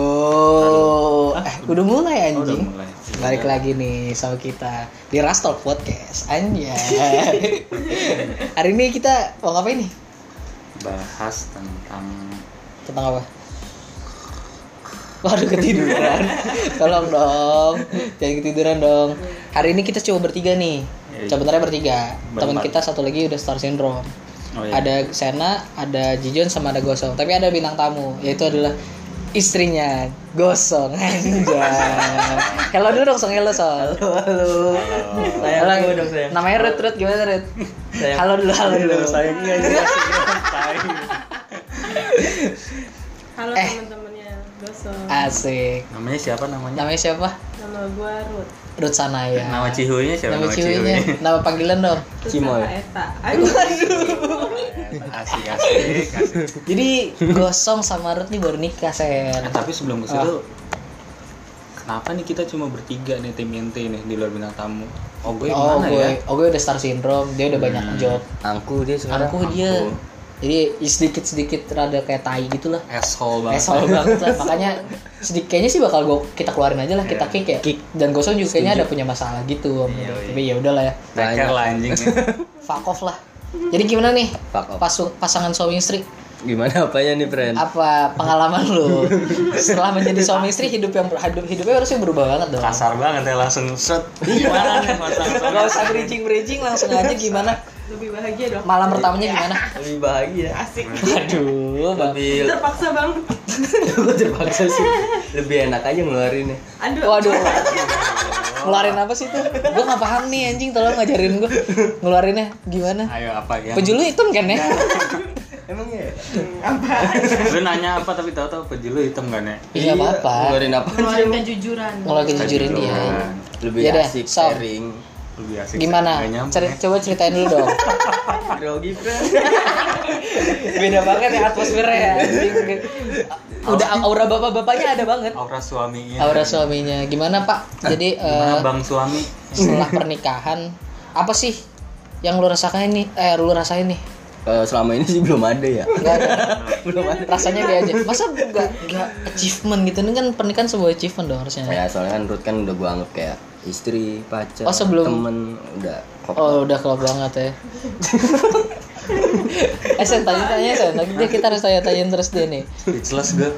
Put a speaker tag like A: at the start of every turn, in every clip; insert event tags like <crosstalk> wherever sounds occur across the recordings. A: Yo,
B: Hah?
A: eh, udah mulai
B: Oh, udah
A: anjing.
B: mulai.
A: Balik lagi nih sama kita di Rastol Podcast.
B: <laughs>
A: Anjay. Hari ini kita mau ngapain nih?
B: bahas tentang
A: Tentang apa? Waduh
B: <laughs>
A: ketiduran. Tolong dong. Jangan ketiduran dong. Hari ini kita coba bertiga nih.
B: Iya.
A: Sebenarnya bertiga. Teman
B: Berempat.
A: kita satu lagi udah Star Syndrome.
B: oh, iya.
A: Ada Sena, ada Jijon sama ada Gosong. Tapi ada bintang tamu yaitu adalah istrinya Gosong. <laughs> Anjay. hello dulu dong, Song. Hello, Sol.
C: Halo. Sayang
A: Halo.
C: gue dong saya.
A: Namanya Rut, Rut gimana Rut?
C: Sayang.
A: Halo dulu, halo dulu.
B: Iya,
C: sayangnya ini.
D: Halo
A: Eh.
D: teman-temannya gosong.
A: Asik.
B: namanya siapa namanya
A: Namanya siapa?
D: Nama gua Ruth.
A: Rut Sanaya.
B: nama cihunya siapa
A: Nama cihunya. <laughs> Nama panggilan dong.
D: Terus
C: Cimoy.
D: nama Eta.
A: <laughs>
D: Aduh.
B: asik asik, asik.
A: Jadi Gosong sama Rut nih baru nikah, Sen.
B: Eh, tapi sebelum ke
A: ah.
B: situ kenapa nih kita cuma bertiga nih tim inti nih di luar bintang tamu oh gue
A: oh,
B: gimana
A: gue,
B: ya
A: oh, gue udah star syndrome, dia udah banyak
B: Hmm.
A: job.
C: Angku dia sekarang.
A: Aku dia.
B: aku.
A: Jadi sedikit-sedikit rada kayak tai gitu lah.
B: asshole banget
A: Esol banget gitu lah, makanya sedikit kayaknya sih bakal gue kita keluarin aja lah kita
B: Iya.
A: kick ya. Dan Gosong juga kayaknya ada punya masalah gitu. sama dia.
B: Iya, iya.
A: Tapi ya udahlah ya.
B: Take care lah anjing
A: fuck off lah. Jadi gimana nih
C: Fuck off.
A: pasu- pasangan suami istri?
C: Gimana apanya nih, friend?
A: Apa pengalaman lu setelah menjadi suami istri hidup yang hidup hidupnya harusnya berubah banget dong.
B: kasar banget ya langsung set gimana nih
A: Gak
B: masalah
A: usah bridging bridging langsung aja gimana
D: Lebih bahagia dong.
A: malam pertamanya gimana?
C: Lebih bahagia.
D: Asik.
B: Nah,
A: Aduh, bang.
C: <laughs> Lebih
D: Terpaksa banget.
C: gue terpaksa sih. Lebih enak aja ngeluarinnya.
D: Aduh.
A: Waduh. Ngeluarin apa sih tuh? Gue nggak paham nih anjing, tolong ngajarin gue ngeluarinnya gimana?
B: ayo apa ya
A: Penjulu hitam kan ya?
C: Iya. Emang ya?
B: lu nanya apa tapi tahu-tahu penjulu hitam kan ya
A: Iya apa-apa.
C: Ngeluarin apa?
D: Ngeluarin kejujuran.
A: Ngeluarin
D: <laughs>
A: kejujuran dia.
B: Kejujuran.
C: Lebih
A: Yaudah,
C: asik
A: so.
C: sharing.
B: gitu. Lebih asik
A: Iya
B: ya?
A: Gimana?
B: Gak nyampe.
C: ya.
A: Ceri- coba ceritain dulu dong.
C: Grogi, friend.
A: beda banget ya atmosfernya ya anjing. udah aura bapak-bapaknya ada banget
B: aura suaminya
A: aura suaminya gimana pak jadi
B: Gimana
A: eh,
B: bang suami
A: setelah pernikahan apa sih yang lu rasakan ini eh lu rasain nih
C: Eh, selama ini sih belum ada ya.
A: Nggak ada.
C: <laughs> belum ada.
A: rasanya kayak aja masa nggak nggak achievement gitu ini kan pernikahan sebuah achievement dong harusnya
C: Ya, soalnya kan Ruth kan udah gue anggap kayak istri, pacar,
A: Oh, sebelum-
C: temen, udah kok
A: oh udah klop banget ya eh sen tanya tanya sen nanti dia kita harus tanya tanyain terus dia nih
B: speechless
A: <laughs>
B: gue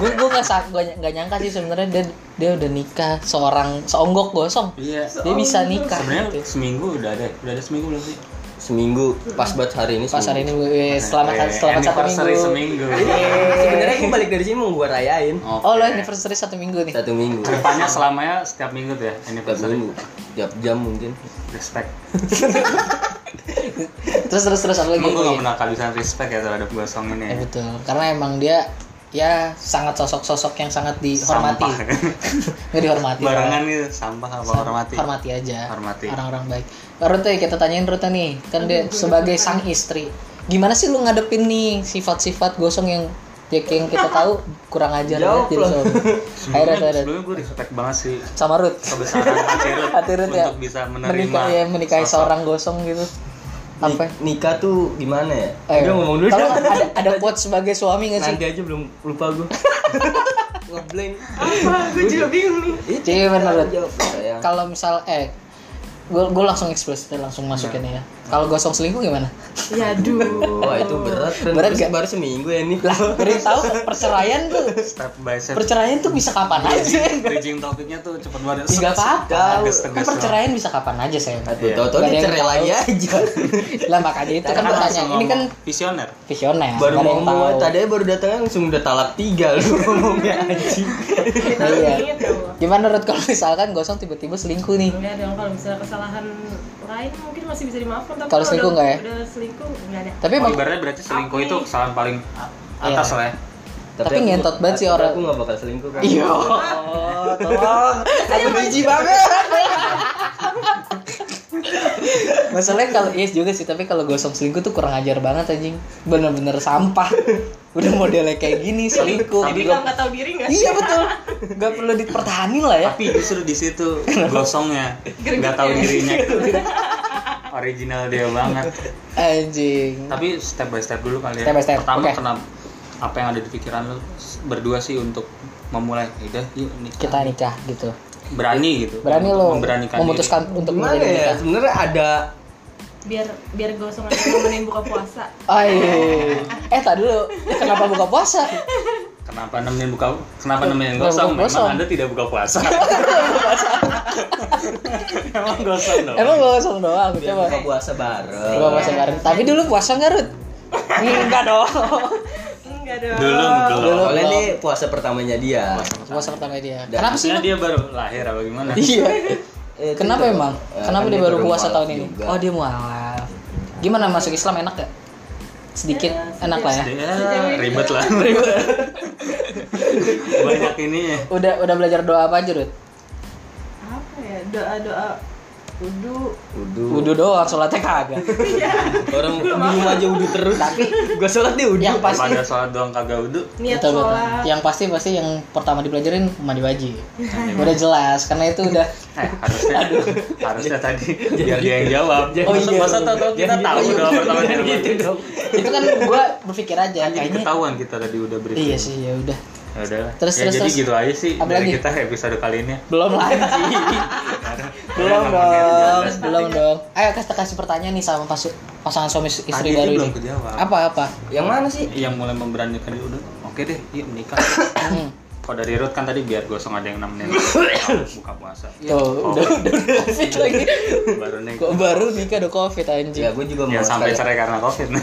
A: gue gue nggak sa- gua nggak nyangka sih sebenarnya dia dia udah nikah seorang seonggok gosong
B: iya
A: dia bisa nikah
B: sebenarnya
A: gitu.
B: seminggu udah ada udah ada seminggu belum sih
C: seminggu pas buat hari ini.
A: pas hari
C: seminggu.
A: ini gue Ya, selamat selamat satu
B: Eh, Anniversary
A: minggu Iya.
B: seminggu
C: Ah, Sebenarnya gue balik dari sini mau gue rayain
B: Oke.
A: oh lo anniversary satu minggu nih
C: satu minggu.
B: depannya selamanya setiap minggu tuh ya
C: Tiap
B: anniversary
C: minggu, tiap jam mungkin.
B: respect
A: terus terus terus apa lagi
B: emang
A: Oh,
B: gue gak
A: iya.
B: pernah kehabisan respect ya terhadap gue song
A: Ya,
B: ini ya.
A: betul karena emang dia ya sangat sosok-sosok yang sangat dihormati
B: Sampah.
A: nggak dihormati
B: barengan gitu sampah apa
A: Sam-
B: hormati
A: hormati aja
B: Hormati.
A: orang-orang baik Ruta kita tanyain Ruta nih kan dia sebagai sang istri gimana sih lu ngadepin nih sifat-sifat gosong yang ya, yang kita tahu kurang ajar
C: Jawab
A: banget jadi
B: <laughs>
C: lo.
A: suami ayo Rut, ayo,
B: sebelumnya,
A: Rut.
B: sebelumnya gue respect banget sih
A: sama Rut <laughs>
B: kebesaran hati Ruth
A: hati Rut ya
B: untuk bisa menerima
A: menikah ya menikahi
B: sosok.
A: seorang gosong gitu
C: Ni-
A: apa
C: nikah tuh gimana ya?
A: Eh,
C: Udah ngomong dulu
A: tolong
C: dah.
A: ada ada quote sebagai suami nggak sih
C: Nanti aja belum lupa gue. Ngeblank.
D: Apa? Gue juga bingung nih.
C: Itu
A: Jadi menurut-
C: jawab Iya, sayang.
A: kalau misal eh gue gue langsung eksplisit langsung
B: Nah.
A: masukin ya kalau gosong selingkuh gimana
D: Ya aduh.
C: Wah itu berat friend.
A: Berat
C: Terus
A: gak?
C: baru seminggu ya nih.
A: lah dari tahu perceraian tuh
B: step by step
A: perceraian tuh bisa kapan aja
B: bridging topiknya tuh cepet banget
A: Ih, nggak apa-apa
B: Tegas,
A: kan
B: tegas
A: perceraian bisa kapan aja saya
C: Aduh,
B: Iya.
C: tau-tau
A: Gak ada
C: dia
A: yang
C: cerai
A: tahu.
C: lagi aja.
A: lah makanya itu kan
B: Karena
A: pertanyaan
B: langsung
A: ini kan
B: ngomong, visioner
A: visioner
C: baru
A: nggak ada yang
C: ngomong
A: tahu.
C: tadi aja baru datangnya langsung udah talak tiga
A: <laughs>
C: lu ngomongnya anjing.
D: Kita
A: Iya.
D: inget dong.
A: gimana menurut kalau misalkan gosong tiba-tiba selingkuh nih
D: Enggak dong kalau misalnya kesalahan lain mungkin masih bisa dimaafkan tapi
A: Kalau selingkuh
D: udah,
A: nggak ya?
D: udah selingkuh enggak ada.
A: tapi
B: Oh,
A: emang
B: ibaratnya berarti selingkuh
D: Apa
B: itu
D: nih?
B: kesalahan paling atas
A: Iya.
B: lah ya.
A: Tapi
C: aku-
A: ngentot banget sih
C: tapi
A: orang.
C: Aku gak bakal selingkuh kan.
A: iya tolong aku jijik banget masalahnya kalau yes juga sih tapi kalau gosong selingkuh tuh kurang ajar banget anjing bener-bener sampah udah modelnya kayak gini selingkuh
D: Tapi kalau nggak tahu diri nggak sih?
A: iya betul nggak perlu dipertahanin lah ya
B: Tapi justru di
A: <laughs>
B: situ gosongnya, nggak tahu dirinya. Original dia banget.
A: anjing
B: Tapi step by step dulu kali ya.
A: Step by step,
B: Pertama
A: oke.
B: kenapa apa yang ada di pikiran lo berdua sih untuk memulai Ya udah yuk nikah
A: kita nikah gitu
B: berani gitu
A: berani lo
B: memberanikan
A: memutuskan untuk
C: Gimana
A: menjadi
C: ya?
A: nikah
C: Sebenarnya ada
D: biar biar gosongan temenin buka puasa
A: Ay. eh tak dulu kenapa buka puasa
B: diri. kenapa namanya buka kenapa namanya
A: Bukan
B: gosong
A: buka gosong.
B: memang anda tidak buka
A: <laughs>
B: puasa emang gosong dong
A: emang gak usah doang
C: biar
A: coba
C: buka puasa bareng.
A: buka puasa bareng tapi dulu puasa nggak Rut enggak dong
D: enggak dong
B: dulu belum
A: Dulu.
C: Soalnya ini puasa pertamanya dia.
A: puasa pertama dia
C: Dan-
A: kenapa sih
B: Maksudnya
A: Rut?
B: dia baru lahir apa gimana
C: <laughs>
A: iya
C: Eh, itu
A: Kenapa
C: juga.
A: emang?
C: Eh,
A: Kenapa
C: kan
A: dia baru puasa
C: mualaf
A: tahun ini?
C: juga.
A: Oh dia mualaf. Gimana masuk Islam enak gak? Sedikit enak lah ya.
B: ya ribet
A: <laughs>
B: lah banyak ini ya
A: Udah udah belajar doa apa aja Rut?
D: apa ya doa doa kudu
C: Wudu.
A: Wudhu doang, sholatnya kagak.
C: Orang di rumah aja wudu terus. Tapi gua sholat dia wudu.
A: yang pasti
B: pada sholat doang kagak wudhu
D: niat
A: Betul, betul.
D: sholat
A: Yang pasti pasti yang pertama dipelajarin mandi wajib. udah jelas karena itu udah
B: eh harusnya harusnya tadi biar dia yang jawab
A: Oh,
B: masa
A: iya.
B: masa tahu kita tahu doang pertama
C: Jangan
B: kali
C: gitu dong.
A: itu kan gua berpikir aja
B: jadi
A: kayaknya.
B: ketahuan kita tadi udah beri
A: Iya sih ya udah.
B: ya udahlah
A: Terus,
B: ya
A: terus,
B: jadi
A: terus.
B: gitu aja sih
A: Apa
B: dari
A: lagi?
B: kita episode kali ini
A: Belum lagi. belum dong,
B: Karena ngomongin 19
A: belum
B: tadi.
A: dong. Ayo kasih kasih pertanyaan nih sama pas- pasangan suami
B: Tadi
A: istri
B: dia
A: baru ini.
B: belum kejawab
A: Apa apa?
C: Yang mana sih?
B: yang mulai memberanikan diri udah oke deh yuk menikah
A: Hmm.
B: kalau dari Ruth kan tadi biar gosong ada yang nemenin buka puasa
A: Tuh, Oh, udah udah udah covid lagi.
B: baru nih
A: Kok baru nikah ada covid anjing.
C: Ya, gua juga
B: ya
C: mau
B: sampai
C: sekali-
B: cerai karena covid nih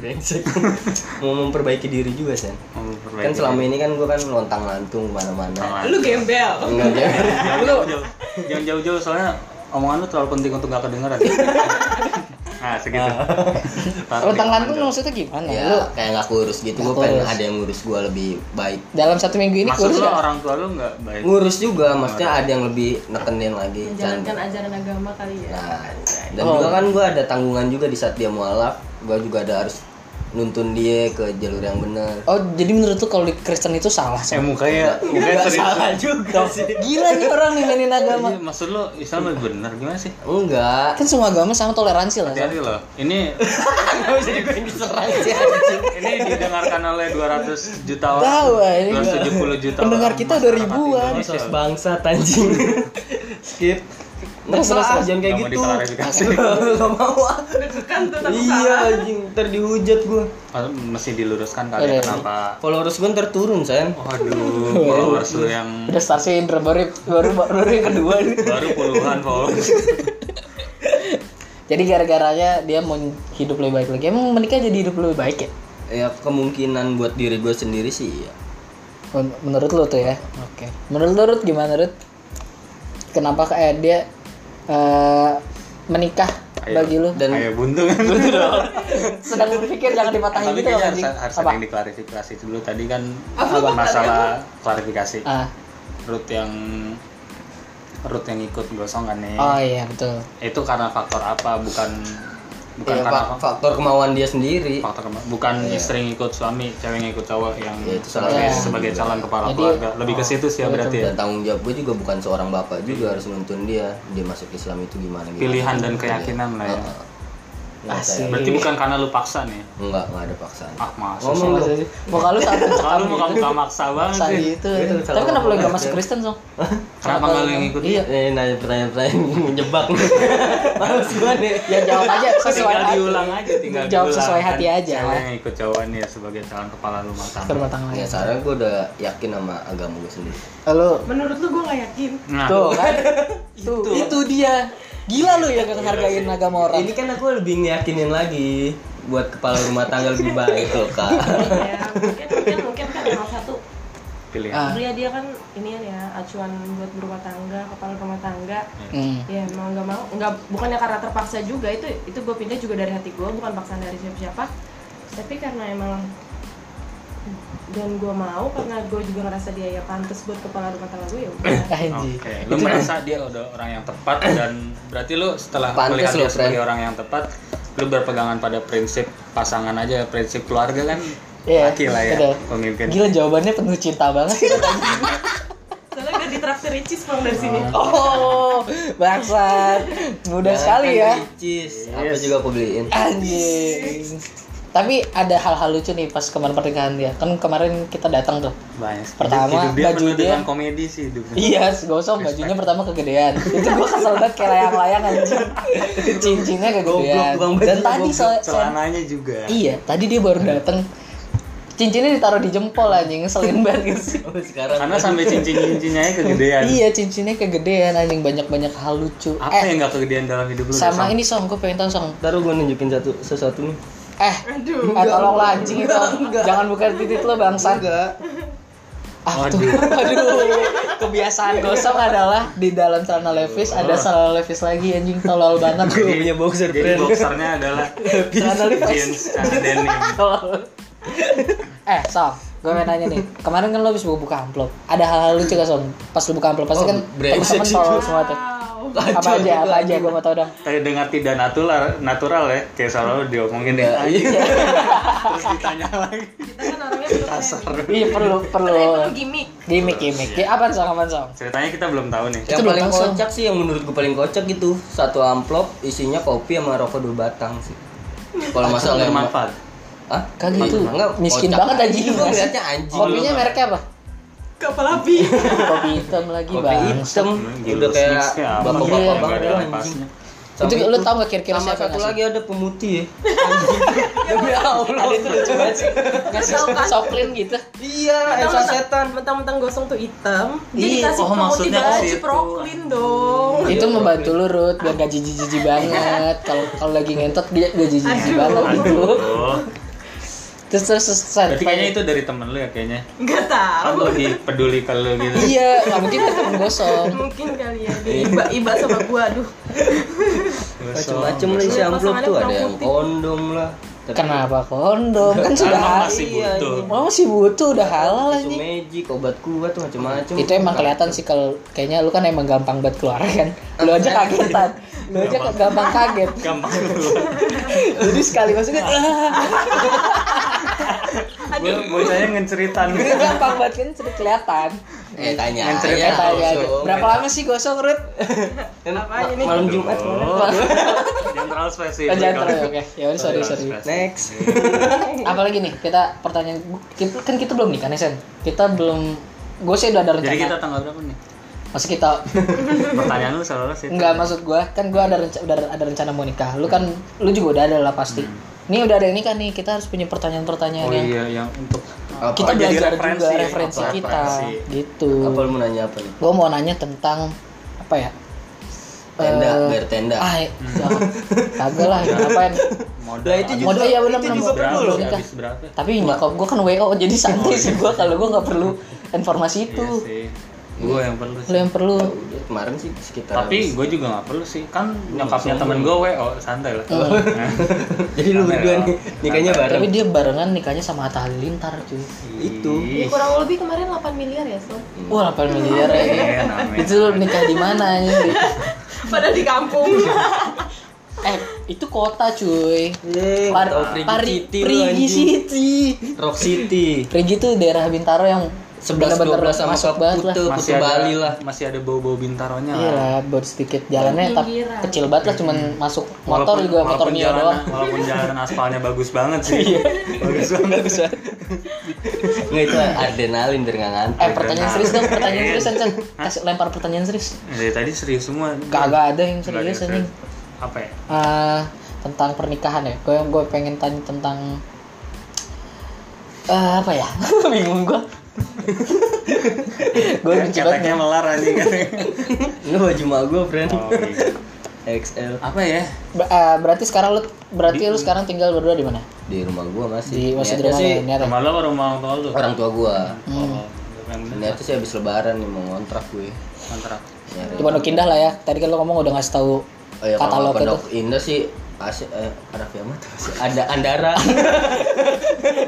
C: Brengsek. <laughs> mau memperbaiki diri juga, Sen.
B: Memperbaiki.
C: Kan selama ini kan gua kan lontang-lantung kemana-mana.
B: Sama.
D: lu gembel
C: Enggak, <laughs> jangan.
B: Jangan jauh-jauh. jangan jauh-jauh soalnya omongan lu terlalu penting untuk gak <laughs> kedengeran nah segitu Taruh di
A: Rentang lantung
B: kanan jauh.
A: maksudnya gimana?
C: ya
A: Lu
C: kayak nggak kurus gitu
A: Nggak
C: gue pengen
A: kurus.
C: ada yang ngurus gue lebih baik
A: dalam satu minggu ini
B: maksud
A: kurus
B: lu
A: nggak?
B: orang tua lu nggak baik
C: ngurus juga maksudnya ada yang lebih nekenin lagi
D: menjalankan
C: Jangan-
D: ajaran agama kali ya
C: nah dan
A: Oh.
C: juga kan gue ada tanggungan juga di saat dia mualaf gue juga ada harus nuntun dia ke jalur yang benar
A: Oh jadi menurut lu kalau di Kristen itu salah
B: eh
A: Sam?
B: mukanya
A: <laughs>
B: mukanya
C: Nggak
B: serius
C: juga sih
A: Gila nih orang nih mainin agama
B: Iya, maksud lu Islam lebih benar gimana sih
C: enggak
A: Kan semua agama sama toleransi lah Sam.
B: Hati-hati loh. Ini
C: Kenapa jadi gue yang diserang sih <laughs> anjing?
A: <laughs>
B: ini didengarkan oleh 200 juta orang.
A: Tahu, ah, ini
B: 270 juta.
A: Pendengar
B: orang
A: kita udah
B: masyarakat
A: ribuan.
B: Indonesia.
C: Podcast bangsa
B: <laughs>
C: anjing skip
A: Terus,
C: terus
A: terus, terus.
C: jangan kayak
B: Nggak mau
C: gitu
B: diklarifikasi.
C: <laughs> Nggak mau ah.
D: kan tuh takut
C: iya anjing ntar dihujat gue
B: Pas- Mesti diluruskan kali ya,
A: Iya, iya.
B: kenapa.
C: followers gue ntar turun sayang
A: <laughs>
B: Waduh, followers lu yang
A: Udah star syndrome baru baru baru yang kedua nih.
B: baru puluhan followers.
A: Jadi gara-garanya dia mau hidup lebih baik lagi. Emang menikah jadi hidup lebih baik ya?
C: ya kemungkinan buat diri gue sendiri sih iya.
A: Men- Menurut lu tuh ya? Oke. Menurut lu Rut, gimana Rut? Kenapa kayak dia eh, menikah
B: Ayo.
A: bagi lu?
C: dan
B: Ayo buntung.
A: <laughs> Sedang berpikir jangan dipatahin
B: Ah, Tapi
A: gitu loh
B: kayaknya harus,
A: anjing.
B: harus ada
A: Apa?
B: yang diklarifikasi dulu tadi kan masalah klarifikasi.
A: Ah.
B: Root yang root yang ikut gosong kan nih.
A: Oh iya betul.
B: Itu karena faktor apa? Bukan bukan
A: Iya,
C: ya,
B: karena
C: fa- faktor kemauan dia sendiri
B: faktor kema- bukan istri ngikut suami cewek ngikut cowok yang
A: Iya,
C: Ya, itu salah
B: sebagai,
A: satu.
B: sebagai calon kepala
A: Jadi- ah, iya,
B: keluarga lebih ke situ sih ya berarti ya Iya.
C: dan tanggung jawab gue juga bukan seorang bapak juga harus nuntun dia dia masuk Islam itu gimana gimana
B: pilihan dan keyakinan lah
A: Ah,
B: ya
A: iya.
C: Nggak, sayang.
B: berarti bukan karena lu paksa nih
C: nggak nggak ada paksaan
B: ah masa sih
C: ngomong dong
A: Muka lu saat
B: Soalnya lu muka muka maksa banget
A: saat
B: sih
A: itu.
C: Gitu,
A: Tapi
C: salah
A: kenapa lu gak
C: ngomong.
A: masuk Kristen, Song?
B: kenapa nggak lu yang ngikut
A: Iya.
C: eh nanya pertanyaan pertanyaan <laughs> menjebak nih males gue nih
A: Ya jawab aja sesuai
B: tinggal
A: hati.
B: diulang aja tinggal
A: Jawab
B: diulang.
A: sesuai hati
B: Kan
A: aja.
B: cewek yang ikut cowok nih ya sebagai calon kepala rumah tangga
A: Rumah tangga.
C: ya sekarang gue udah yakin sama agama gue sendiri
A: Lu
D: menurut lu gue gak yakin
B: nah <laughs>
A: tuh kan. Tuh, itu dia. Gila lu yang gak ngehargain agama orang.
C: ini kan aku lebih ngeyakinin lagi buat kepala rumah tangga lebih baik loh kak
D: ya mungkin mungkin mungkin kan yang satu
B: pilihan
A: Ah.
D: Pria dia kan ini kan ya acuan buat berumah tangga kepala rumah tangga
A: Hmm.
D: ya mau nggak mau nggak bukannya karena terpaksa juga itu itu gue pindah juga dari hati gue bukan paksaan dari siapa siapa tapi karena emang dan gue mau karena gue juga ngerasa dia ya pantas buat kepala rumah tangga gue ya udah
A: <laughs> Ah, Anjing.
B: Oke, lu merasa dia udah orang yang tepat dan berarti lu setelah
C: Pantes
B: melihat
C: lu,
B: dia
C: Fred.
B: sebagai orang yang tepat, lu berpegangan pada prinsip pasangan aja, prinsip keluarga kan
A: Iya,
B: laki lah ya,
A: betul.
B: pemimpin.
A: Gila jawabannya penuh cinta banget.
D: soalnya gue ditraktir ricis pulang dari sini
A: oh, bangsat. Mudah sekali ya.
C: Apa juga aku beliin.
A: Anjing. Tapi ada hal-hal lucu nih pas kemarin pernikahan dia. Kan kemarin kita datang tuh.
B: Banyak.
A: Pertama,
B: hidup dia
A: baju
B: penuh
A: dia-
B: dengan komedi sih hidupnya.
A: Iya, gosong bajunya pertama kegedean. Itu gua kesel banget kayak layang-layang anjing. Cincinnya kegedean.
C: Goblok, bang.
A: Dan tadi
C: Goblok.
A: soal
B: Celananya juga.
A: Iya, tadi dia baru datang. Cincinnya ditaruh di jempol anjing, ngeselin banget gak sih.
C: Sampai Oh, sekarang
B: Karena sampai cincin-cincinnya kegedean.
A: Iya, cincinnya kegedean anjing banyak-banyak hal lucu.
B: Apa
A: eh,
B: yang gak kegedean dalam hidup lu?
A: sama
B: Sam?
A: ini song, gue pengen tahu song.
C: Taruh gue nunjukin satu sesuatu nih
A: Eh,
D: Aduh.
A: eh tolonglah anjing itu. Jangan buka titik lo bangsat. Ah, <laughs> tuh. Aduh. Kebiasaan gosong adalah di dalam celana levis ada celana levis lagi anjing tolol banget.
C: Gue punya boxer
B: Jadi
C: friend
B: boxernya
C: <laughs>
B: adalah
A: Celana levis.
B: jeans, celana denim.
A: Tolol. eh, Song, gue mau nanya nih. Kemarin kan lo habis buka amplop. Ada hal-hal lucu gak, Song? Pas lo buka amplop pasti
C: Oh,
A: kan
C: brengsek
A: teman-teman
C: sih,
A: tolol
C: Song.
A: semua tuh.
D: Wow.
A: Apa
C: Kacau
A: aja,
C: gitu,
A: apa aja gue mau tau dong.
B: Tapi dengan tidak natural, natural ya, kayak selalu diomongin ya.
C: Nah, Iya.
B: Terus ditanya lagi.
D: Kita kan orangnya perlu training.
A: Iya, perlu perlu
D: Karena itu gimmick.
A: gimmick gimmick. Ya, apaan Song? Apaan Song?
B: Ceritanya kita belum tahu nih.
A: Itu
C: Yang
A: belum
C: paling
A: langsung.
C: kocak sih yang menurut gue paling kocak gitu Satu amplop isinya kopi sama rokok dua batang sih Kalau masalah yang
B: bermanfaat.
C: Hah?
A: Kan gitu. Miskin
C: kocak
A: banget anjing.
C: Gue ngeliatnya anjing
A: Kopinya mereknya apa?
D: Kapal api.
A: Kopi hitam lagi,
C: Kopi
A: Bang.
C: hitam
B: Gila,
C: Udah kayak
B: snacks-nya apa? Iya,
C: bapak-bapak banget
B: nggak ada
C: lah anjing
B: lepasnya.
C: Sama
A: Itu lu tau nggak kira-kira
C: sama
A: siapa
C: satu
A: ngasih?
C: lagi ada pemutih ya Anjing. <laughs> Demi Allah
A: Iya. Ada itu lucu banget sih. Ngasih soklin gitu.
C: Iya Elsa setan
D: Mentang-mentang gosong tuh hitam.
A: Iya,
D: Jadi dikasih
B: oh,
D: pemutih
B: maksudnya ke
D: baju
B: situ.
D: proklin dong. <laughs>
A: itu membantu lu Ruth biar gak jijik-jijik banget kalau kalau lagi ngentot dia gak jijik
D: Aduh.
A: banget gitu
B: Aduh.
A: terus terus terus San,
B: Oh. Berarti kayaknya
A: pengen-
B: itu dari temen lu ya kayaknya.
D: Gak
B: Kan
D: tahu.
B: lebih peduli kalau gitu.
A: iya nggak mungkin dari temen gosong
D: Mungkin kali ya. dia Iba iba sama gua aduh.
C: Macem-macem lah
A: Iya,
C: isi
D: Pasangannya
C: amplop tuh
D: kurang
C: ada yang
D: putih.
C: kondom lah Tapi
A: kenapa kondom kan sudah
B: Karena
A: halal
B: masih
C: iya,
B: butuh.
A: oh masih butuh udah halal
C: Tisu
A: anjing
C: magic, obat kuat tuh macem-macem
A: itu emang kelihatan sih kalau kayaknya lu kan emang gampang banget keluar kan lu aja kagetan lu aja kok gampang kaget
B: Gampang.
C: <laughs>
A: jadi sekali maksudnya
C: Nah.
A: <laughs> ah,
B: Gue mau tanya ngeceritan.
A: itu gampang banget kan sudah kelihatan
C: Eh tanya
B: Nganterin
C: aja,
A: Ya, tanya aja.
C: langsung.
A: berapa lama sih gosong Ruth?
D: Apaan
C: Ma-
D: ini?
C: Malam Jumat
B: Oh. Jangan terlalu spesifik.
A: Oh, jangan terlalu,
B: Kalau-
A: oke. Ya udah, sorry, sorry.
B: Spesifik.
C: Next
A: apalagi nih kita pertanyaan kita, kan kita belum nikah nih Sen kita belum gue sih udah ada rencana
B: Jadi kita tanggal berapa
C: <laughs>
B: nih?
A: masih kita
B: Pertanyaan lu selalu sih. <laughs>
A: nggak maksud gue kan gue ada rencana udah ada rencana mau nikah lu kan
B: Hmm.
A: lu juga udah ada lah pasti ini udah ada yang nikah nih kita harus punya pertanyaan-pertanyaan
B: Oh
A: yang
B: iya, yang
A: <laughs>
B: untuk
C: Apa?
A: kita
B: Oh, jadi
A: belajar
B: referensi
A: juga
B: ya,
A: referensi
B: apa,
A: kita
B: referensi.
A: gitu
C: Apa lu mau nanya apa nih?
A: gue mau nanya tentang apa ya
C: Tenda,
A: Eh,
C: biar tenda
A: ah ya,
C: <laughs>
A: jangan. kagak lah ngapain
B: modal.
C: Lah itu
B: Abis
C: juga,
A: Modal, iya, bener,
C: Iya.
A: bener, modal.
C: itu juga perlu
B: berapa?
C: loh
A: Iya.
B: Abis berapa?
A: tapi nyokap gue kan wo jadi santai sih gue kalau gue nggak perlu informasi itu
B: Iya sih. Gue yang perlu sih.
A: lu yang perlu
C: Udah, Kemarin sih sekitar
B: Tapi
C: habis.
B: gue juga nggak perlu sih, kan nyokapnya temen gue WO, santai lah
A: Oh.
B: <laughs> Nah.
C: Jadi lu berdua nih, nikahnya bareng Iya.
A: tapi dia barengan nikahnya sama Atta Halilintar cuy
C: Itu.
B: Iya.
D: Ya, kurang lebih kemarin 8 miliar ya, Sob.
A: Wah, 8 miliar ya.
B: Iya, namanya.
A: itu lu nikah di mana ini?
D: Padahal di kampung.
A: Eh, itu kota cuy.
C: Yeay,
A: Par
C: Eh, tau Prigi
A: Pari
C: City lu,
A: Prigi
C: Iya, anjing.
A: City.
C: Rock City
A: Prigi tuh daerah Bintaro yang
C: Sebelas,
A: bener-bener
C: 12 sama
A: masuk
C: Kota
A: banget lah.
C: Kute.
B: masih
C: Putu
B: ada
C: Bali lah.
B: masih ada bau-bau bintaronya
A: Iya
B: lah.
A: lah, baru sedikit jalannya tapi
D: Pinggiran.
A: kecil banget lah cuman masuk motor
B: Walaupun-
A: juga
B: walaupun
A: motor Mio
B: jalanan-
A: doang. Iya.
B: Walaupun jalanan aspalnya bagus banget sih. bagus banget.
C: Nggak itu adrenalin biar nggak ngantuk
A: Eh, pertanyaan serius dong, pertanyaan serius Cen. Kasih lempar pertanyaan serius.
B: Dari tadi serius semua.
A: Kagak ada yang
B: Nggak Iya. ada
A: serius
B: yang
A: anjing.
B: Apa ya?
A: Eh, tentang pernikahan ya. Gue gue pengen tanya tentang eh apa ya? <laughs> Bingung gue. gue lucu banget.
B: Keteknya Ya, melar
A: <laughs>
B: anjing.
C: Ini baju mak gue friend
B: Oh, iya.
C: XL
B: Apa ya?
A: Ber- eh, berarti sekarang lu berarti lu sekarang tinggal berdua di mana?
C: Di rumah gue
A: Di
C: masih
A: masih di rumah
C: Niatnya Iya, sih
A: lu, ya? niatnya?
B: Rumah lo apa rumah orang
A: Hmm.
B: tua lu?
C: Orang tua gue
B: Oh,
C: Niatnya sih habis lebaran nih mau ngontrak gue
B: kontrak.
C: Nyari.
A: Di Pondok Indah lah ya. Tadi kan lu ngomong udah ngasih tahu
C: Oh ya kalau
A: katalog itu.
C: pondok indah sih asik eh Raffi Ahmad masih ada Andara.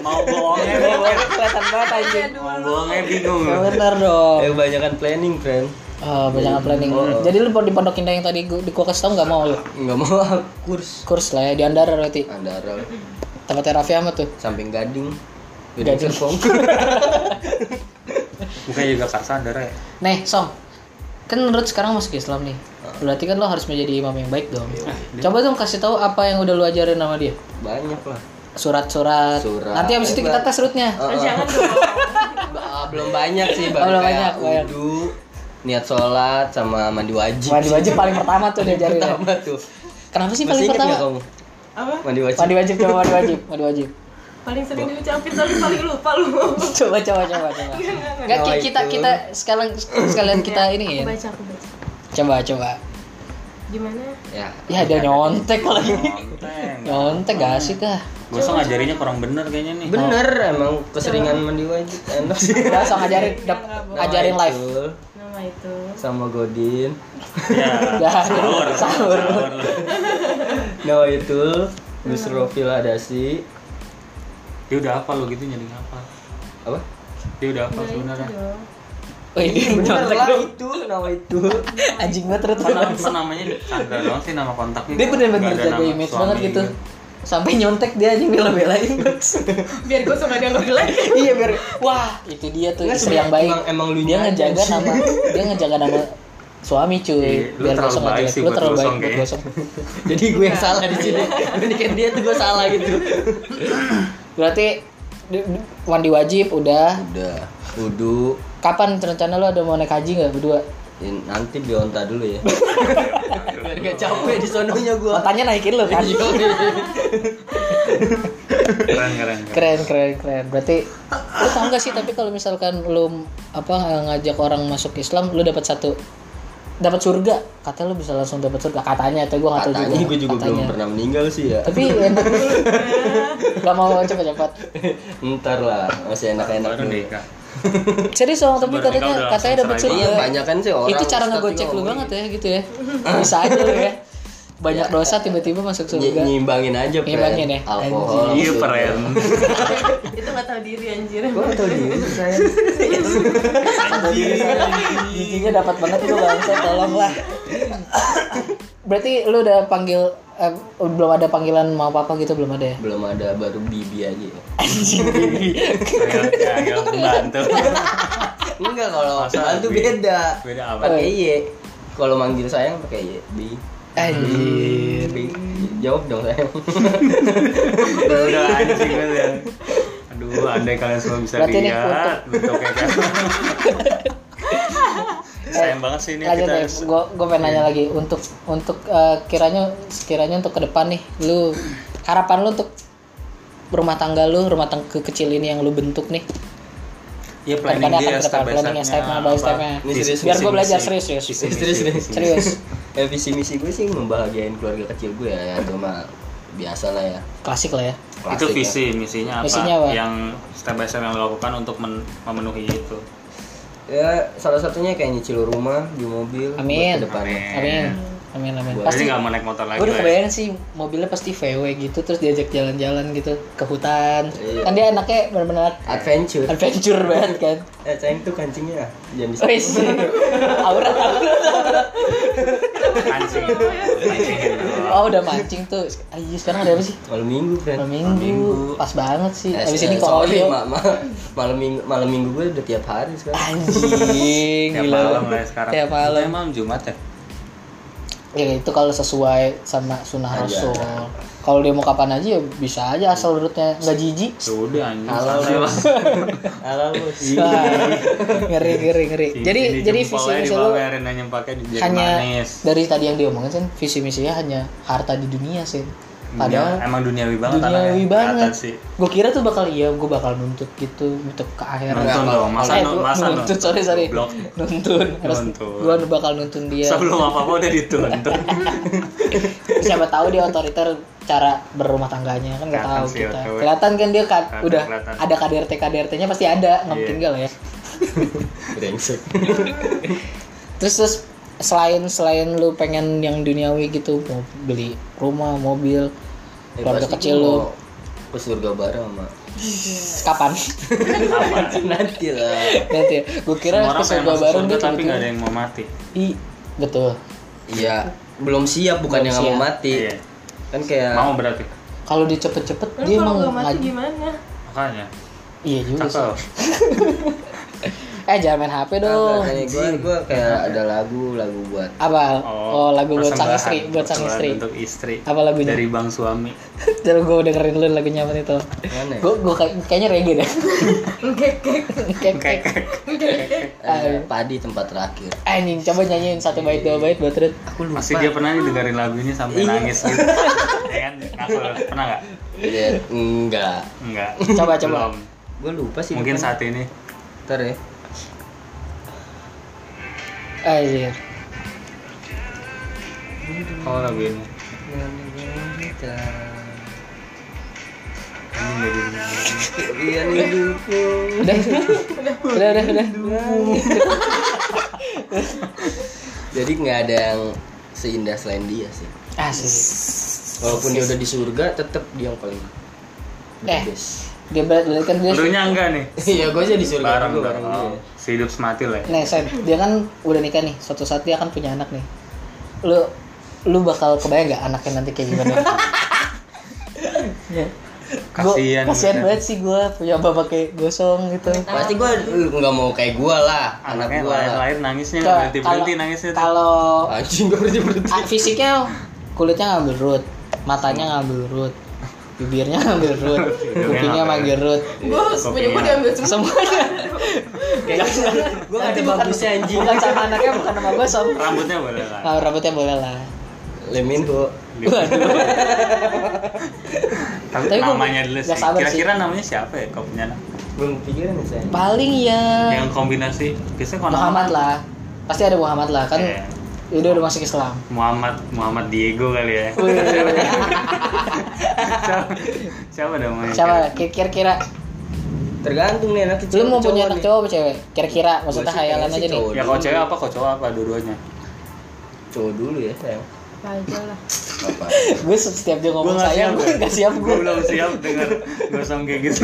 B: Mau bohongnya, bohongnya.
A: Kelihatan banget anjing.
B: Mau bohongnya bingung.
A: Ya Bener dong.
C: <laughs> eh kebanyakan planning friend.
A: Eh, banyak planning.
C: Oh.
A: Jadi lu di Pondok Indah yang tadi gua, di gua kasih tahu nggak mau lu?
C: Nggak mau <laughs> ah, kurs
A: Kurs lah ya di Andara berarti.
C: Andara
A: Tempatnya Raffi Ahmad tuh.
C: samping Gading. Gading
A: Gading.
C: Serpong.
B: Bukannya juga karsa ada ya?
A: Nih, Song. Kan menurut sekarang masuk Islam nih.
C: Ah.
A: Berarti kan
C: Iya.
A: lo harus menjadi imam yang baik dong. Coba dong kasih tahu apa yang udah lu ajarin sama dia.
C: Banyak lah.
A: surat-surat.
C: Surat.
A: Nanti habis itu kita tes rootnya.
C: Eh,
D: Ah,
C: eh,
D: jangan dong.
C: eh, belum banyak sih baru
A: Oh, belum
C: kayak
A: banyak, banyak.
C: wudu, niat sholat sama mandi wajib. <laughs>
A: Mandi wajib paling pertama tuh diajarin. ya.
C: pertama tuh.
A: Kenapa sih
C: Masih
A: paling
C: ingat nggak
A: pertama?
C: kamu?
D: Apa?
C: Mandi wajib.
A: Mandi wajib coba mandi wajib, mandi wajib.
D: Paling sering diucapin tapi paling lupa lu.
A: Coba coba coba coba. Enggak
C: Oh,
A: kita
C: itu.
A: kita sekarang sekalian kita ini ya.
D: Ya, Aku baca, aku baca.
A: Coba coba.
D: Gimana?
C: Ya.
A: Ya ada nyontek lagi.
B: Konten.
A: Nyontek gak asik dah.
B: Gue so Oh. ngajarinya kurang bener kayaknya nih.
C: Bener
A: oh.
C: emang keseringan mandi wajib enak sih.
A: Udah langsung ngajarin dap, <laughs> ajarin
C: Nama
A: live.
C: Icul
D: Nama itu.
C: sama Godin.
B: Ya.
A: Udah sahur. sahur.
C: No itu Nusrofil Adasi
B: Dia udah apa lo gitu nyari apa?
A: <laughs>
C: apa?
B: Dia udah apa
D: Nah, itu
B: sebenarnya?
D: dong.
A: Wih, nyontek
C: lah
A: lu.
C: itu nama itu.
A: Anjing banget terus
B: Kok nama- kok namanya Chandra doang sih nama kontaknya?
A: Dia bener-bener
B: Nggak ada
A: jaga
B: nama
A: image
B: suami
A: banget gitu. Sampai nyontek dia anjing bela-belain.
D: Biar gue sama dia nggak lagi.
A: iya biar wah itu dia tuh
C: Nggak,
A: istri yang baik
C: emang- emang lu
A: dia
C: nyanyi
A: ngejaga
C: sih.
A: nama dia ngejaga nama suami cuy
B: Iya, lu terlalu
A: gosong aja.
B: baik sih
A: lu
B: buat
A: terlalu baik
B: gosong,
A: buat
B: kayaknya.
A: gosong
C: Jadi gue yang salah di sini. Mendingan dia tuh gue salah gitu.
A: berarti di- di- mandi wajib udah
C: Udah, wudu
A: kapan rencana lu ada mau naik haji nggak berdua
C: Ya, nanti bionta dulu
A: <laughs>
C: ya. Biar gak capek di sononya gua.
A: matanya naikin lu kan
B: Iya. Keren keren. keren.
A: keren keren keren berarti lu tau gak sih tapi kalau misalkan lu apa ngajak orang masuk Islam lu dapat satu dapat surga katanya lu bisa langsung dapat surga katanya Oh, atau gua nggak tahu
C: Katanya gue juga belum
A: Katanya.
C: pernah meninggal sih ya.
A: tapi enak gak mau cepat-cepat
C: <laughs> Ntar lah, masih enak-enak
B: Baru
C: dulu.
B: nikah.
A: serius orang tapi
B: Sebenarnya
A: katanya
B: udah
A: katanya dapat
B: langsung
A: surga
C: Iya, banyak kan sih orang.
A: itu cara
C: Ustaz
A: ngegocek
C: juga
A: lu
C: ngomongin.
A: banget ya gitu ya bisa aja lu ya banyak dosa tiba-tiba masuk
C: Iya. Nyi-
A: surga
C: nyimbangin aja Pren.
A: Nyimbangin ya?
C: alkohol
B: Iya
C: maksudnya. <laughs>
B: keren.
D: itu nggak tahu diri anjir.
C: Gua nggak tahu diri saya
A: giginya dapat banget lu bangsa tolonglah berarti lu udah panggil eh, belum ada panggilan mau papa gitu belum ada ya
C: belum ada baru bibi aja
B: Kayak kayak pembantu.
C: enggak kalau
B: Masa
C: itu
B: bibi?
C: beda
B: Beda apa?
C: pakai ye kalau manggil sayang pakai ye bi Hmm.
A: anjir
C: Bi. jawab dong sayang
B: Udah udah anjing kan ya. Aduh, andai kalian semua bisa
A: Berarti ini
B: lihat bentuknya
A: <laughs>
B: kan. Sayang banget sih ini
A: lanjut
B: kita. Iya.
A: deh gue gue pengen nanya lagi untuk untuk eh, kiranya sekiranya untuk ke depan nih lu harapan lu untuk rumah tangga lu rumah tangga kecil ini yang lu bentuk nih
B: Ya planning
A: Kedepannya
B: dia
A: akan
B: step by
A: kedepan, planning
B: step-nya.
A: step by step-nya.
B: apa,
C: Ini serius,
A: biar gue
B: visi-misi.
A: belajar serius serius
B: Visi-misi,
C: Serius, serius.
B: visi-misi.
A: serius
C: eh, visi misi gue sih membahagiain keluarga kecil gue ya itu mah biasa lah ya
A: klasik lah ya
C: Klasik
B: itu
C: ya.
B: visi misinya apa?
A: Misinya apa?
B: Yang step by step yang lo lakukan untuk men- memenuhi itu.
C: ya salah satunya kayak nyicil rumah di mobil buat
A: Amin.
C: kedepannya.
A: amin amin amin
C: Boleh.
A: pasti
B: Jadi nggak mau naik motor lagi.
A: gue udah
B: lah ya?
A: kebayang sih mobilnya pasti VW gitu terus diajak jalan-jalan gitu ke hutan
C: Iya.
A: kan dia anaknya benar-benar
C: adventure
A: adventure Oh, iya. banget kan
C: eh sayang tuh kancingnya jangan
B: Iya.
A: <laughs>
C: di
A: Wis, aurat aurat
B: Anjing.
A: <laughs>
B: Anjing.
A: oh udah mancing tuh ayo sekarang ada apa sih
C: malam minggu Eh, friend
A: malam minggu pas banget sih abis ini
C: kalau
A: kalau dia
C: <laughs> malam minggu malam minggu gue udah tiap hari
A: Ah,
C: sekarang.
A: anjing
B: Tiap
A: gila
B: malam lah ya sekarang.
A: Tiap malam.
B: Kayak malam Jumat ya.
A: ya itu kalau sesuai sama sunnah
C: Aja.
A: rasul kalau dia mau kapan aja ya bisa aja asal urutnya nggak
C: <laughs>
A: jijik
B: Ya udah anjing.
C: Halal
B: santai
C: <laughs>
B: lah.
C: Halo bos.
A: Wah, ngeri ngeri ngeri
B: Sini
A: <laughs> jadi jadi visi
B: jempolnya
A: misi lu
B: dipamerin, hanya pakai di ya. jadi
A: hanya
B: manis.
A: dari tadi yang diomongin sih visi misinya hanya harta di dunia sih
B: Iya,
A: padahal
B: emang duniawi banget
A: duniawi
B: anaknya.
A: banget
B: Kelihatan sih.
A: gue kira tuh bakal iya gue bakal nuntut gitu nuntut ke akhirat
B: Nuntun dong, masa
A: Eh,
B: nu-
A: gua-
B: masa
A: nuntut sorry sorry Iya.
B: Goblok.
A: nuntun harus
B: Nuntun.
A: gue bakal nuntun dia
B: Sebelum apa-apa udah dituntun.
A: siapa tahu dia otoriter cara berumah tangganya kan nggak
B: Kelihatan
A: tahu
B: sih,
A: kita
B: otw.
A: kelihatan kan dia ka-
B: Kelihatan,
A: udah
B: kelihatan.
A: ada kdrt kdrt nya pasti ada nggak mungkin
B: Iya.
A: nggak lah ya
C: Brengsek.
A: terus terus selain selain lu pengen yang duniawi gitu mau beli rumah mobil
C: Eh,
A: keluarga
C: pasti
A: kecil
C: gua
A: lu
C: mau Ke surga bareng sama.
A: kapan
C: <laughs> Nanti lah.
A: nanti ya. gue <laughs> kira ke
B: Semua orang pengen
A: surga
B: masuk
A: baru
B: surga
A: dia
B: tapi nggak ada
A: tiba-tiba
B: yang mau mati.
A: i betul
C: Iya, belum siap bukan
A: Belum
C: yang mau
A: siap.
C: mati.
B: Iya.
C: Kan kayak
B: Mau berarti.
A: kalau dia cepet-cepet
D: Lalu
A: dia
D: kalau gitu.
A: emang
D: gak mati
A: ngaj-
D: gimana?
B: Makanya.
A: iya juga sih
B: Cakep.
A: Eh jangan main HP dong.
C: Kayak gue, gue ya, kayak ada lagu, lagu buat
A: Apa? Oh, lagu buat sang
B: persembahan,
A: istri, buat sang
B: persembahan
A: istri.
B: Untuk istri.
A: Apa lagunya?
B: Dari bang suami.
A: <laughs> Dari gue dengerin lu lagunya apa itu?
C: Mana ya?
A: Gue gue kayaknya reggae deh.
D: Ngekek.
A: Kek kek.
C: Ada padi tempat terakhir.
A: Anjing, coba nyanyiin satu bait dua bait buat Rut.
C: Aku lupa.
B: Masih dia pernah nih dengerin lagu ini sampai
A: Iya. <laughs>
B: nangis gitu. ya kan? Ngaku, pernah nggak?
C: Iya, enggak.
B: Enggak.
A: Coba, coba.
B: Belum.
C: Gue lupa sih.
B: Mungkin
C: depan.
B: saat ini.
C: Ntar ya.
A: Anjir.
B: Oh lagu ini.
A: Iya
B: Ini nggak di-
C: Iya nih dulu.
A: Udah. Udah, udah, udah.
C: Jadi nggak ada yang seindah selain dia sih.
A: Asik.
C: Walaupun dia udah di surga, tetap dia yang paling
A: Eh.
C: the best.
A: Dia ber- berarti kan dia
B: Lurunya enggak nih.
C: Iya, gue aja di surga.
B: Bareng
C: gue
B: dong.
C: bareng
A: iya.
C: dia.
B: Oh, Sehidup semati lah. ya.
A: Nih, Sen, dia kan udah nikah nih. Suatu saat dia akan punya anak nih. Lu lu bakal kebayang gak anaknya nanti kayak
B: <laughs>
A: gimana? Ya. Gua-
B: Kasian
A: kasian
B: gitu.
A: banget sih gue punya bapak kayak gosong gitu.
C: Pasti gue nggak mau kayak gue lah, anak
B: Anaknya
C: gue
B: lahir,
C: lah.
B: lahir nangisnya
A: Kalau-
B: berhenti berhenti nangisnya. tuh.
A: Kalau
C: Anjing gue berarti berarti.
A: ah, fisiknya kulitnya ngambil root, matanya ngambil root, bibirnya ngambil root, kupingnya
B: ngapain?
A: manggil root,
D: Gue punya gue diambil semua.
A: semuanya.
C: Gue nggak ada bagusnya anjing.
A: Bukan sama anaknya, bukan sama gosong.
B: Rambutnya boleh lah.
A: Nah, rambutnya boleh lah.
C: Lemin gue.
B: Tapi,
A: Tapi gua
B: namanya dulu
A: nggak
B: sih.
A: sabar
B: Kira-kira namanya siapa ya kau punya anak?
C: Belum pikiran ya saya.
A: Paling ya
B: Yang kombinasi biasanya kalau nama-
A: Muhammad lah. Pasti ada Muhammad lah kan.
B: Iya.
A: Udah udah masuk Islam.
B: Muhammad Muhammad Diego kali ya. siapa, <laughs> siapa namanya?
A: Siapa? Kira-kira
C: Tergantung nih nanti.
A: lu mau punya anak cowok apa cewek? Kira-kira maksudnya
C: Gua sih
A: khayalan
C: pengen
A: aja
C: sih
A: nih.
C: cowok.
B: Ya kalau cewek apa, kalau cowok apa dua-duanya?
C: Cowok dulu ya sayang.
D: Apa aja lah.
C: Apa?
A: Gue setiap dia ngomong sayang, <laughs> gue gak siap
B: Gua
A: gue.
B: belum siap dengar gosong kayak gitu.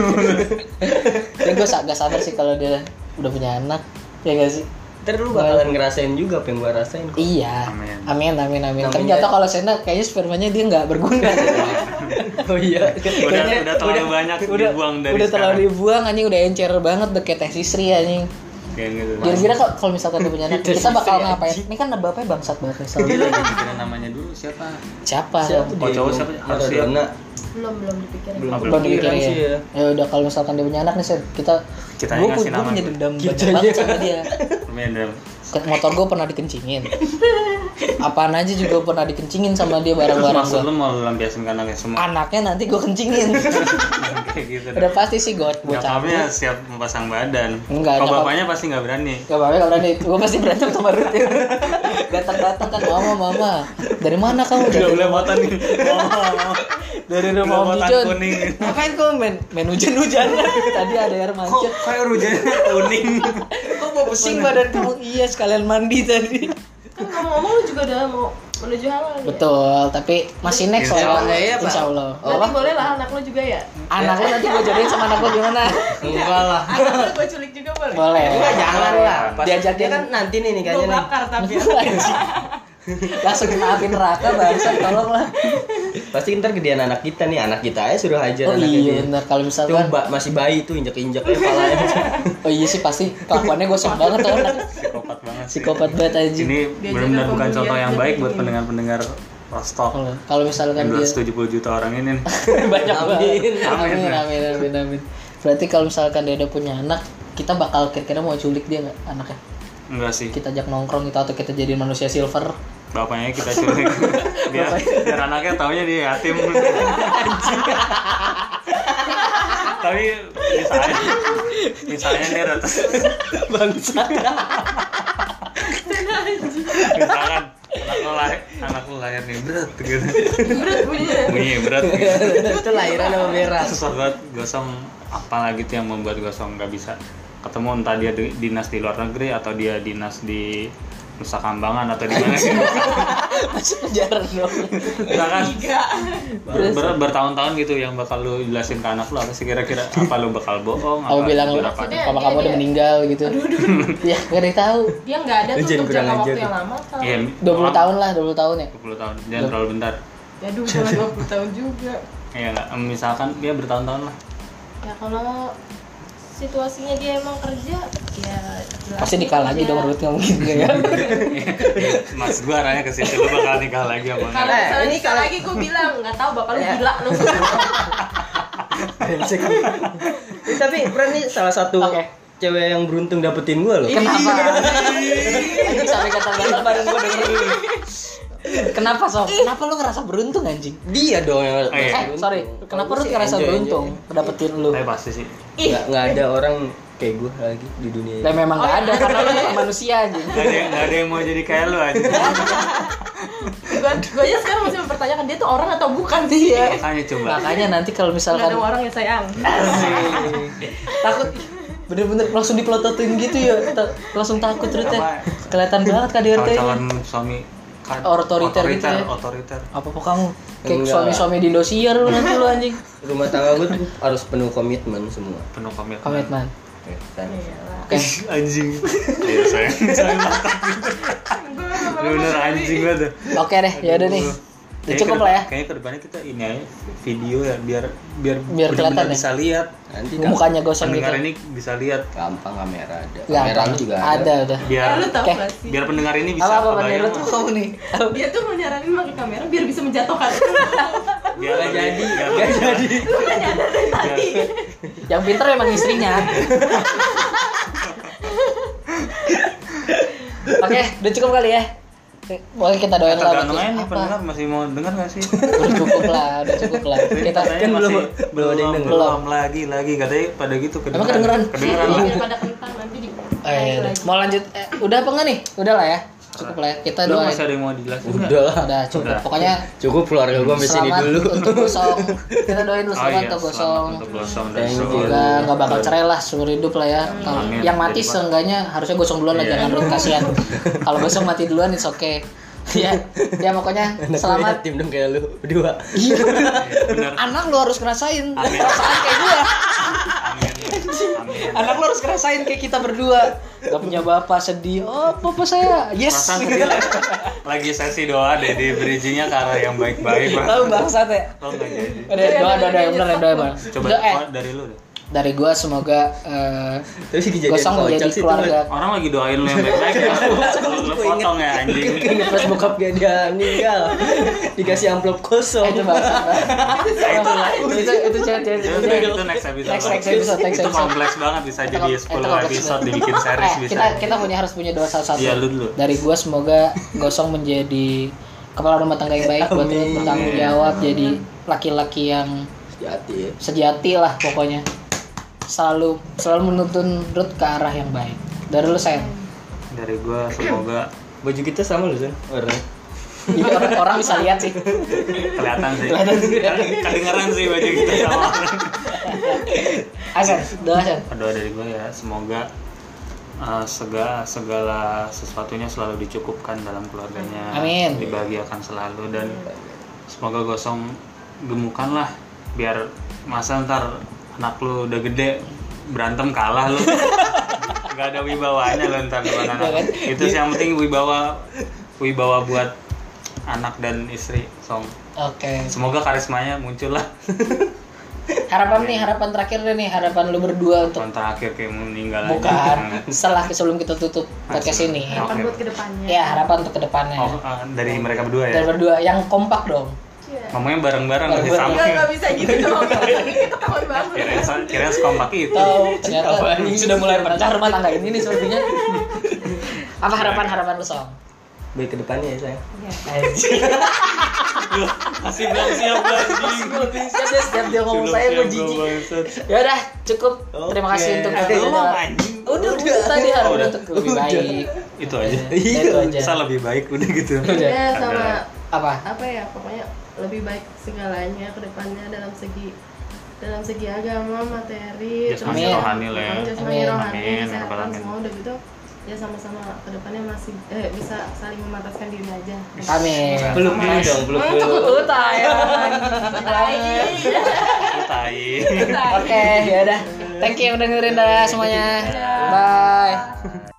A: <laughs> Tapi gue gak sabar sih kalau dia udah punya anak. Ya gak sih?
C: Ntar lu bakalan ngerasain juga apa yang gua rasain. kok.
A: Iya.
B: Amin.
A: Amin, amin, amin. Tapi
C: Amin,
A: gak
C: ya.
A: tau kalau Sena kayaknya spermanya dia gak berguna.
C: <laughs> Oh
A: <laughs>
C: iya.
B: udah udah terlalu banyak dibuang dari
A: udah terlalu
B: sekarang.
A: dibuang anjing udah encer banget deh kayak teh sisri anjing
B: Kayak gitu.
A: kira-kira kan- kok kalau misalkan dia punya
B: <laughs>
A: anak
C: Teh
A: kita bakal
C: Sisri,
A: ngapain ini kan bapaknya bangsat banget
B: Dia
A: misalnya
B: lagi mikirin namanya dulu siapa?
A: siapa
C: Siapa
B: Kalau
C: dia?
B: cowok siapa? Harus ya.
C: Maradona.
D: Belum belum dipikirin.
C: Belum
B: Belum
A: belum dipikirin
C: kepikiran
A: ya.
C: sih ya.
A: ya udah kalau misalkan dia punya anak nih Sen, kita
B: Kita
A: gue
B: ngasih nama.
A: punya dendam banyak
C: Kitanya.
A: banget sama dia
B: Permainan.
A: Ke- motor gue pernah
B: <laughs>
A: dikencingin apaan aja juga pernah dikencingin sama dia
B: Terus
A: barang-barang
B: maksud
A: gue
B: lu mau lampiaskan ke anaknya semua
A: anaknya nanti gue
C: <laughs>
A: kencingin
B: kayak gitu.
A: Ah. udah pasti sih gue gue
B: Nyokapnya
A: cabut
B: siap mempasang badan.
A: Enggak,
B: Kalau
A: nyokap-
B: bapaknya pasti nggak berani.
C: ya.
A: Gak apa-apa kalau nanti gue pasti berantem sama Ruth ya. Datang-datang kan mama mama dari mana kamu
B: Udah
A: dari
B: boleh motor nih. Ngomong.
A: <laughs> dari rumah
B: Udah
A: Om
B: botan
A: Dijun. <laughs>
B: kuning.
A: Ngapain kamu main main
C: <laughs>
A: hujan-hujan? Tadi ada air
B: Kok
A: mancur.
B: kayak rujannya kuning?
A: Kok mau pusing badan kamu? Iya sekalian mandi tadi.
D: Kan ngomong-ngomong lu juga udah mau menuju halal ya?
A: Betul, tapi masih next
B: Insya
A: lah.
C: Allah, iya, Pak.
A: Insya Allah.
D: Nanti boleh lah anak lu juga ya?
A: Anak lu nanti gue jodohin sama anak lu gimana?
C: Enggak lah.
D: Anak lu gue culik juga boleh?
A: Boleh.
C: Enggak jangan lah. Pas
A: Diajakin.
C: dia kan nanti nih
D: Gue
C: nikahnya nih.
D: bakar
A: <laughs>
D: tapi
A: Langsung kena api neraka bangsat tolonglah.
C: <laughs> Pasti ntar gedean anak kita nih, anak kita aja suruh hajar
A: Oh
C: anaknya
A: iya
C: dia.
A: benar kalau misalkan
C: Coba masih bayi tuh injek-injek aja
A: <laughs>
C: palanya.
A: Oh iya sih pasti kelakuannya gosong banget tuh anak.
B: Psikopat banget. sih.
A: Psikopat banget anjing.
B: Ini
D: Diajarin
B: benar-benar bukan
D: pembulian,
B: contoh yang baik buat
D: diajarin.
B: pendengar-pendengar Rostok.
A: Kalau- Kalau misalkan dia <laughs>
B: 270 juta orang ini nih.
A: banyak banget.
C: Amin.
A: Amin.
B: Amin.
A: Amin. Amin. Amin. Berarti kalau misalkan dia udah punya anak, kita bakal kira-kira mau culik dia nggak anaknya?
B: Enggak sih.
A: Kita ajak nongkrong gitu atau kita jadi manusia silver?
B: Bapaknya kita culik. Biar, biar anaknya taunya dia yatim. Tapi misalnya misalnya dia udah
A: Bangsa.
B: misalkan anak lo lahir anak lo lahir nih berat gitu.
D: Berat bunyinya
B: Bunyi berat gitu.
C: itu
A: <laughs>
C: lahiran sama merah.
B: susah banget gosong apalagi tuh yang membuat gosong nggak bisa ketemu entah dia di- dinas di luar negeri atau dia dinas di Nusa Kambangan atau di mana gitu
A: Masuk penjara dong.
B: misalkan kan? ber- ber- bertahun-tahun gitu yang bakal lu jelasin ke anak lu apa sih kira-kira apa lu bakal bohong
A: Kamu
B: apa
A: bilang lu,
B: apa?
D: Maksudnya
A: papa
D: dia-
A: kamu udah
D: dia-
A: meninggal gitu. <laughs> Ya nggak ada yang tahu.
D: Dia nggak ada tuh
C: Jangan
D: untuk
C: kurang
D: jangka
C: ajar
D: waktu
C: tuh.
D: yang lama kan
B: Iya,
A: 20 tahun lah, 20 tahun ya.
B: 20 tahun jangan terlalu bentar
D: Ya
C: <laughs>
D: dulu jangan 20 tahun juga
B: Iya, nggak? misalkan dia bertahun-tahun lah
D: Ya kalau 10 situasinya dia emang kerja ya jelas
A: Pasti
D: dia
A: nikah lagi
D: kerja.
A: dong menurutnya mungkin nggak ya.
B: Mas gua arahnya ke situ lu bakal nikah lagi sama
D: kalau
B: Nara.
D: misalnya
E: ini
D: nikah
E: kalau-
D: lagi gue bilang nggak tahu bapak lu
E: Ya.
D: gila lu
C: Ini Eh, tapi Pran ini salah satu
A: Oke. Iya.
C: cewek yang beruntung dapetin gue loh.
A: Kenapa? Anjing sampai kata-kata baru gue denger ini. Kenapa sob? Kenapa lu ngerasa beruntung anjing?
C: Dia dong yang
B: Eh,
A: Eh sorry, kenapa lu ngerasa beruntung dapetin lu?
B: Tapi pasti sih.
D: ih
C: Nggak nggak ada orang kayak gue lagi di dunia ini.
A: Dan memang nggak ada karena lu bukan manusia anjing.
B: Gak ada, nggak ada yang mau jadi kayak lu aja.
D: gue gue aja sekarang masih mempertanyakan dia tuh orang atau bukan sih ya
B: Makanya coba.
A: Makanya nanti kalau
D: nggak
A: Iya. misalkan
D: ada orang ya sayang
A: Asik. takut bener-bener langsung dipelototin gitu ya ta- langsung takut terutnya kelihatan banget kan KDRT
B: Calon-calon suami kan-
A: Iya, Otoriter gitu ya.
B: otoriter.
A: apa kok kamu kayak
C: Enggak.
A: suami-suami di Indosiar lu nanti lu anjing
C: Rumah tangga gue tuh harus penuh komitmen semua.
B: Penuh komitmen.
A: komitmen
C: Kan.
A: oke
B: anjing. Iya sayang. Sayang banget. Bener anjing lah tuh.
A: oke deh ya udah nih udah
B: gitu. Kayaknya
A: cukup
B: ke-
A: lah ya
B: Kayaknya kedepannya kita ini aja video ya biar biar
A: Biar
B: bener-bener
A: kelihatan ya.
B: bisa lihat.
C: Nanti kan
A: mukanya gosong gitu
B: Pendengar ini bisa lihat
C: gampang kamera ada.
A: ya
C: Kamera lu juga ada.
A: ada udah
D: eh,
B: biar
D: lu tau
A: Oke.
D: gak sih
B: biar pendengar ini bisa
A: apa apa
B: kebayang
A: menurut tuh kamu nih
D: dia tuh mau nyaranin pakai kamera biar bisa menjatuhkan
B: <laughs> biar ya,
C: Nggak jadi,
B: biar-
C: nggak jadi.
B: <laughs>
D: lu kan nyadar dari tadi
B: biar-
A: yang pinter emang istrinya oke udah cukup kali ya boleh kita doain lah
B: tergantung aja nih
A: Apa?
B: pendengar masih mau denger gak
A: <laughs>
B: sih
A: udah cukup lah udah cukup lah kita
B: Katanya
C: belum-
B: masih
C: belum ada yang
B: belum,
C: denger.
B: belum lagi lagi katanya pada gitu
A: Emang kedengeran?
B: kedengeran
A: Iya.
D: Biar pada kentang nanti di
A: eh, mau lanjut eh, udah apa enggak nih udah lah ya cukup lah ya. kita
B: lu
A: doain
B: masih ada yang mau dijelasin nggak?
C: Udah lah.
A: udah cukup
B: Udah.
A: pokoknya
C: Cukup keluarga gue sampai sini
A: selamat <laughs>
C: dulu.
A: untuk gosong kita doain lu
B: Oh
A: selamat
B: iya,
A: untuk gosong
B: selamat untuk gosong dan
C: Thank you.
B: seluruh
A: juga nggak bakal cerai lah seumur hidup lah ya Kalau-
B: Amin.
A: yang mati
B: Jadi, Pak.
A: seenggaknya harusnya gosong duluan lah
B: Iya.
A: jangan lu <laughs> kasihan kalau gosong mati duluan it's <laughs> okay ya ya pokoknya
C: Anak gua
A: selamat Iya,
C: yatim dong kayak lu berdua.
B: Iya, benar
A: anak lu harus ngerasain
B: Amin.
A: perasaan kayak gua
B: amin amin
A: <laughs> anak lu harus ngerasain kayak kita berdua gak punya bapak sedih oh papa saya yes
B: perasaan sedih lah. <laughs> lagi sesi doa deh di bridgingnya ke arah yang baik-baik Bang.
A: <laughs> Tahu bangsat ya.
B: Lo nggak jadi
A: Udah doa doa doa yang benar ya, doa yang benar.
B: coba
A: Udah, eh,
B: oh, dari lu deh
A: dari gua semoga eh,
C: Tapi sih kejadian
A: gosong menjadi
C: kocak sih itu.
A: keluarga.
B: orang lagi doain lu yang baik-baik ya Lu- lu potong ya anjing
C: Ini pas bokap dia, dia meninggal Dikasih
A: Eh,
C: amplop kosong
A: <laughs> Itu bangsat.
B: Nah, itu lah
A: Itu itu cewek cewek.
B: Ya udah, itu next episode
A: Next-
B: lah.
A: next episode, next
B: itu
A: episode. eh,
B: kompleks banget bisa jadi 10 episode dibikin series bisa
A: Kita kita punya harus punya doa satu satu.
B: Iya, lu dulu.
A: Dari gua semoga gosong menjadi kepala rumah tangga yang baik buat
C: Amin.
A: bertanggung jawab jadi laki-laki yang
C: Hati ya
A: sejati lah pokoknya selalu selalu menuntun Ruth ke arah yang baik dari lu sayang
B: dari gua semoga
C: Baju kita sama loh Zan Warna
A: jadi orang, orang bisa lihat sih
B: kelihatan sih kedengeran sih baju kita sama
A: Asan doa Asan
B: doa dari gua ya semoga uh, segala segala sesuatunya selalu dicukupkan dalam keluarganya
A: Amin.
B: dibahagiakan selalu dan semoga gosong gemukan lah biar masa ntar anak lu udah gede berantem kalah
A: <laughs>
B: lu nggak ada wibawanya lu ntar depan anak
A: Iya kan?
B: itu sih yang penting wibawa wibawa buat anak dan istri song
A: oke
B: semoga karismanya muncul lah
A: harapan nih harapan terakhir deh nih harapan lu berdua untuk
B: tahun terakhir kayak mau meninggal aja.
A: bukan setelah sebelum kita tutup podcast ini
D: harapan buat kedepannya
A: ya harapan untuk kedepannya
B: Oh, uh, dari mereka berdua ya
A: dan berdua yang kompak dong
B: ngomongnya bareng-bareng masih
A: Bareng-bareng.
B: sama
D: Iya. Enggak, enggak bisa
B: <laughs>
D: gitu dong. Ini ketahuan banget.
B: kira kira sekompak itu
A: tahu ternyata
C: Apaan ini?
A: sudah mulai pecah rumah tangga ini nih sepertinya apa harapan harapan lu song
C: Baik ke depannya ya sayang
A: <laughs>
B: masih belum siap anjing
A: setiap dia ngomong saya gue jijik ya udah cukup terima kasih
C: Oke.
A: untuk
C: Ada
A: kalian.
B: belum anjing
A: udah udah tadi harus
B: Udah.
A: untuk lebih baik
B: itu aja
A: Ya, itu aja
B: bisa lebih baik udah
A: <laughs>
B: gitu
A: udah
D: Ya sama
A: apa
D: apa ya pokoknya lebih baik segalanya ke depannya dalam segi dalam segi agama, materi, terus
B: Jasmani
A: Amin.
B: rohani lah ya
D: Pokoknya jasmani
A: Amin.
D: rohani,
B: Amin.
D: kesehatan
B: Rabbal alamin.
D: semua udah gitu ya sama-sama ke depannya masih eh, bisa saling memataskan diri aja.
A: amin
C: Peluk dulu dong peluk dulu
B: Lu tai
A: oke ya udah thank you udah dengerin dah semuanya bye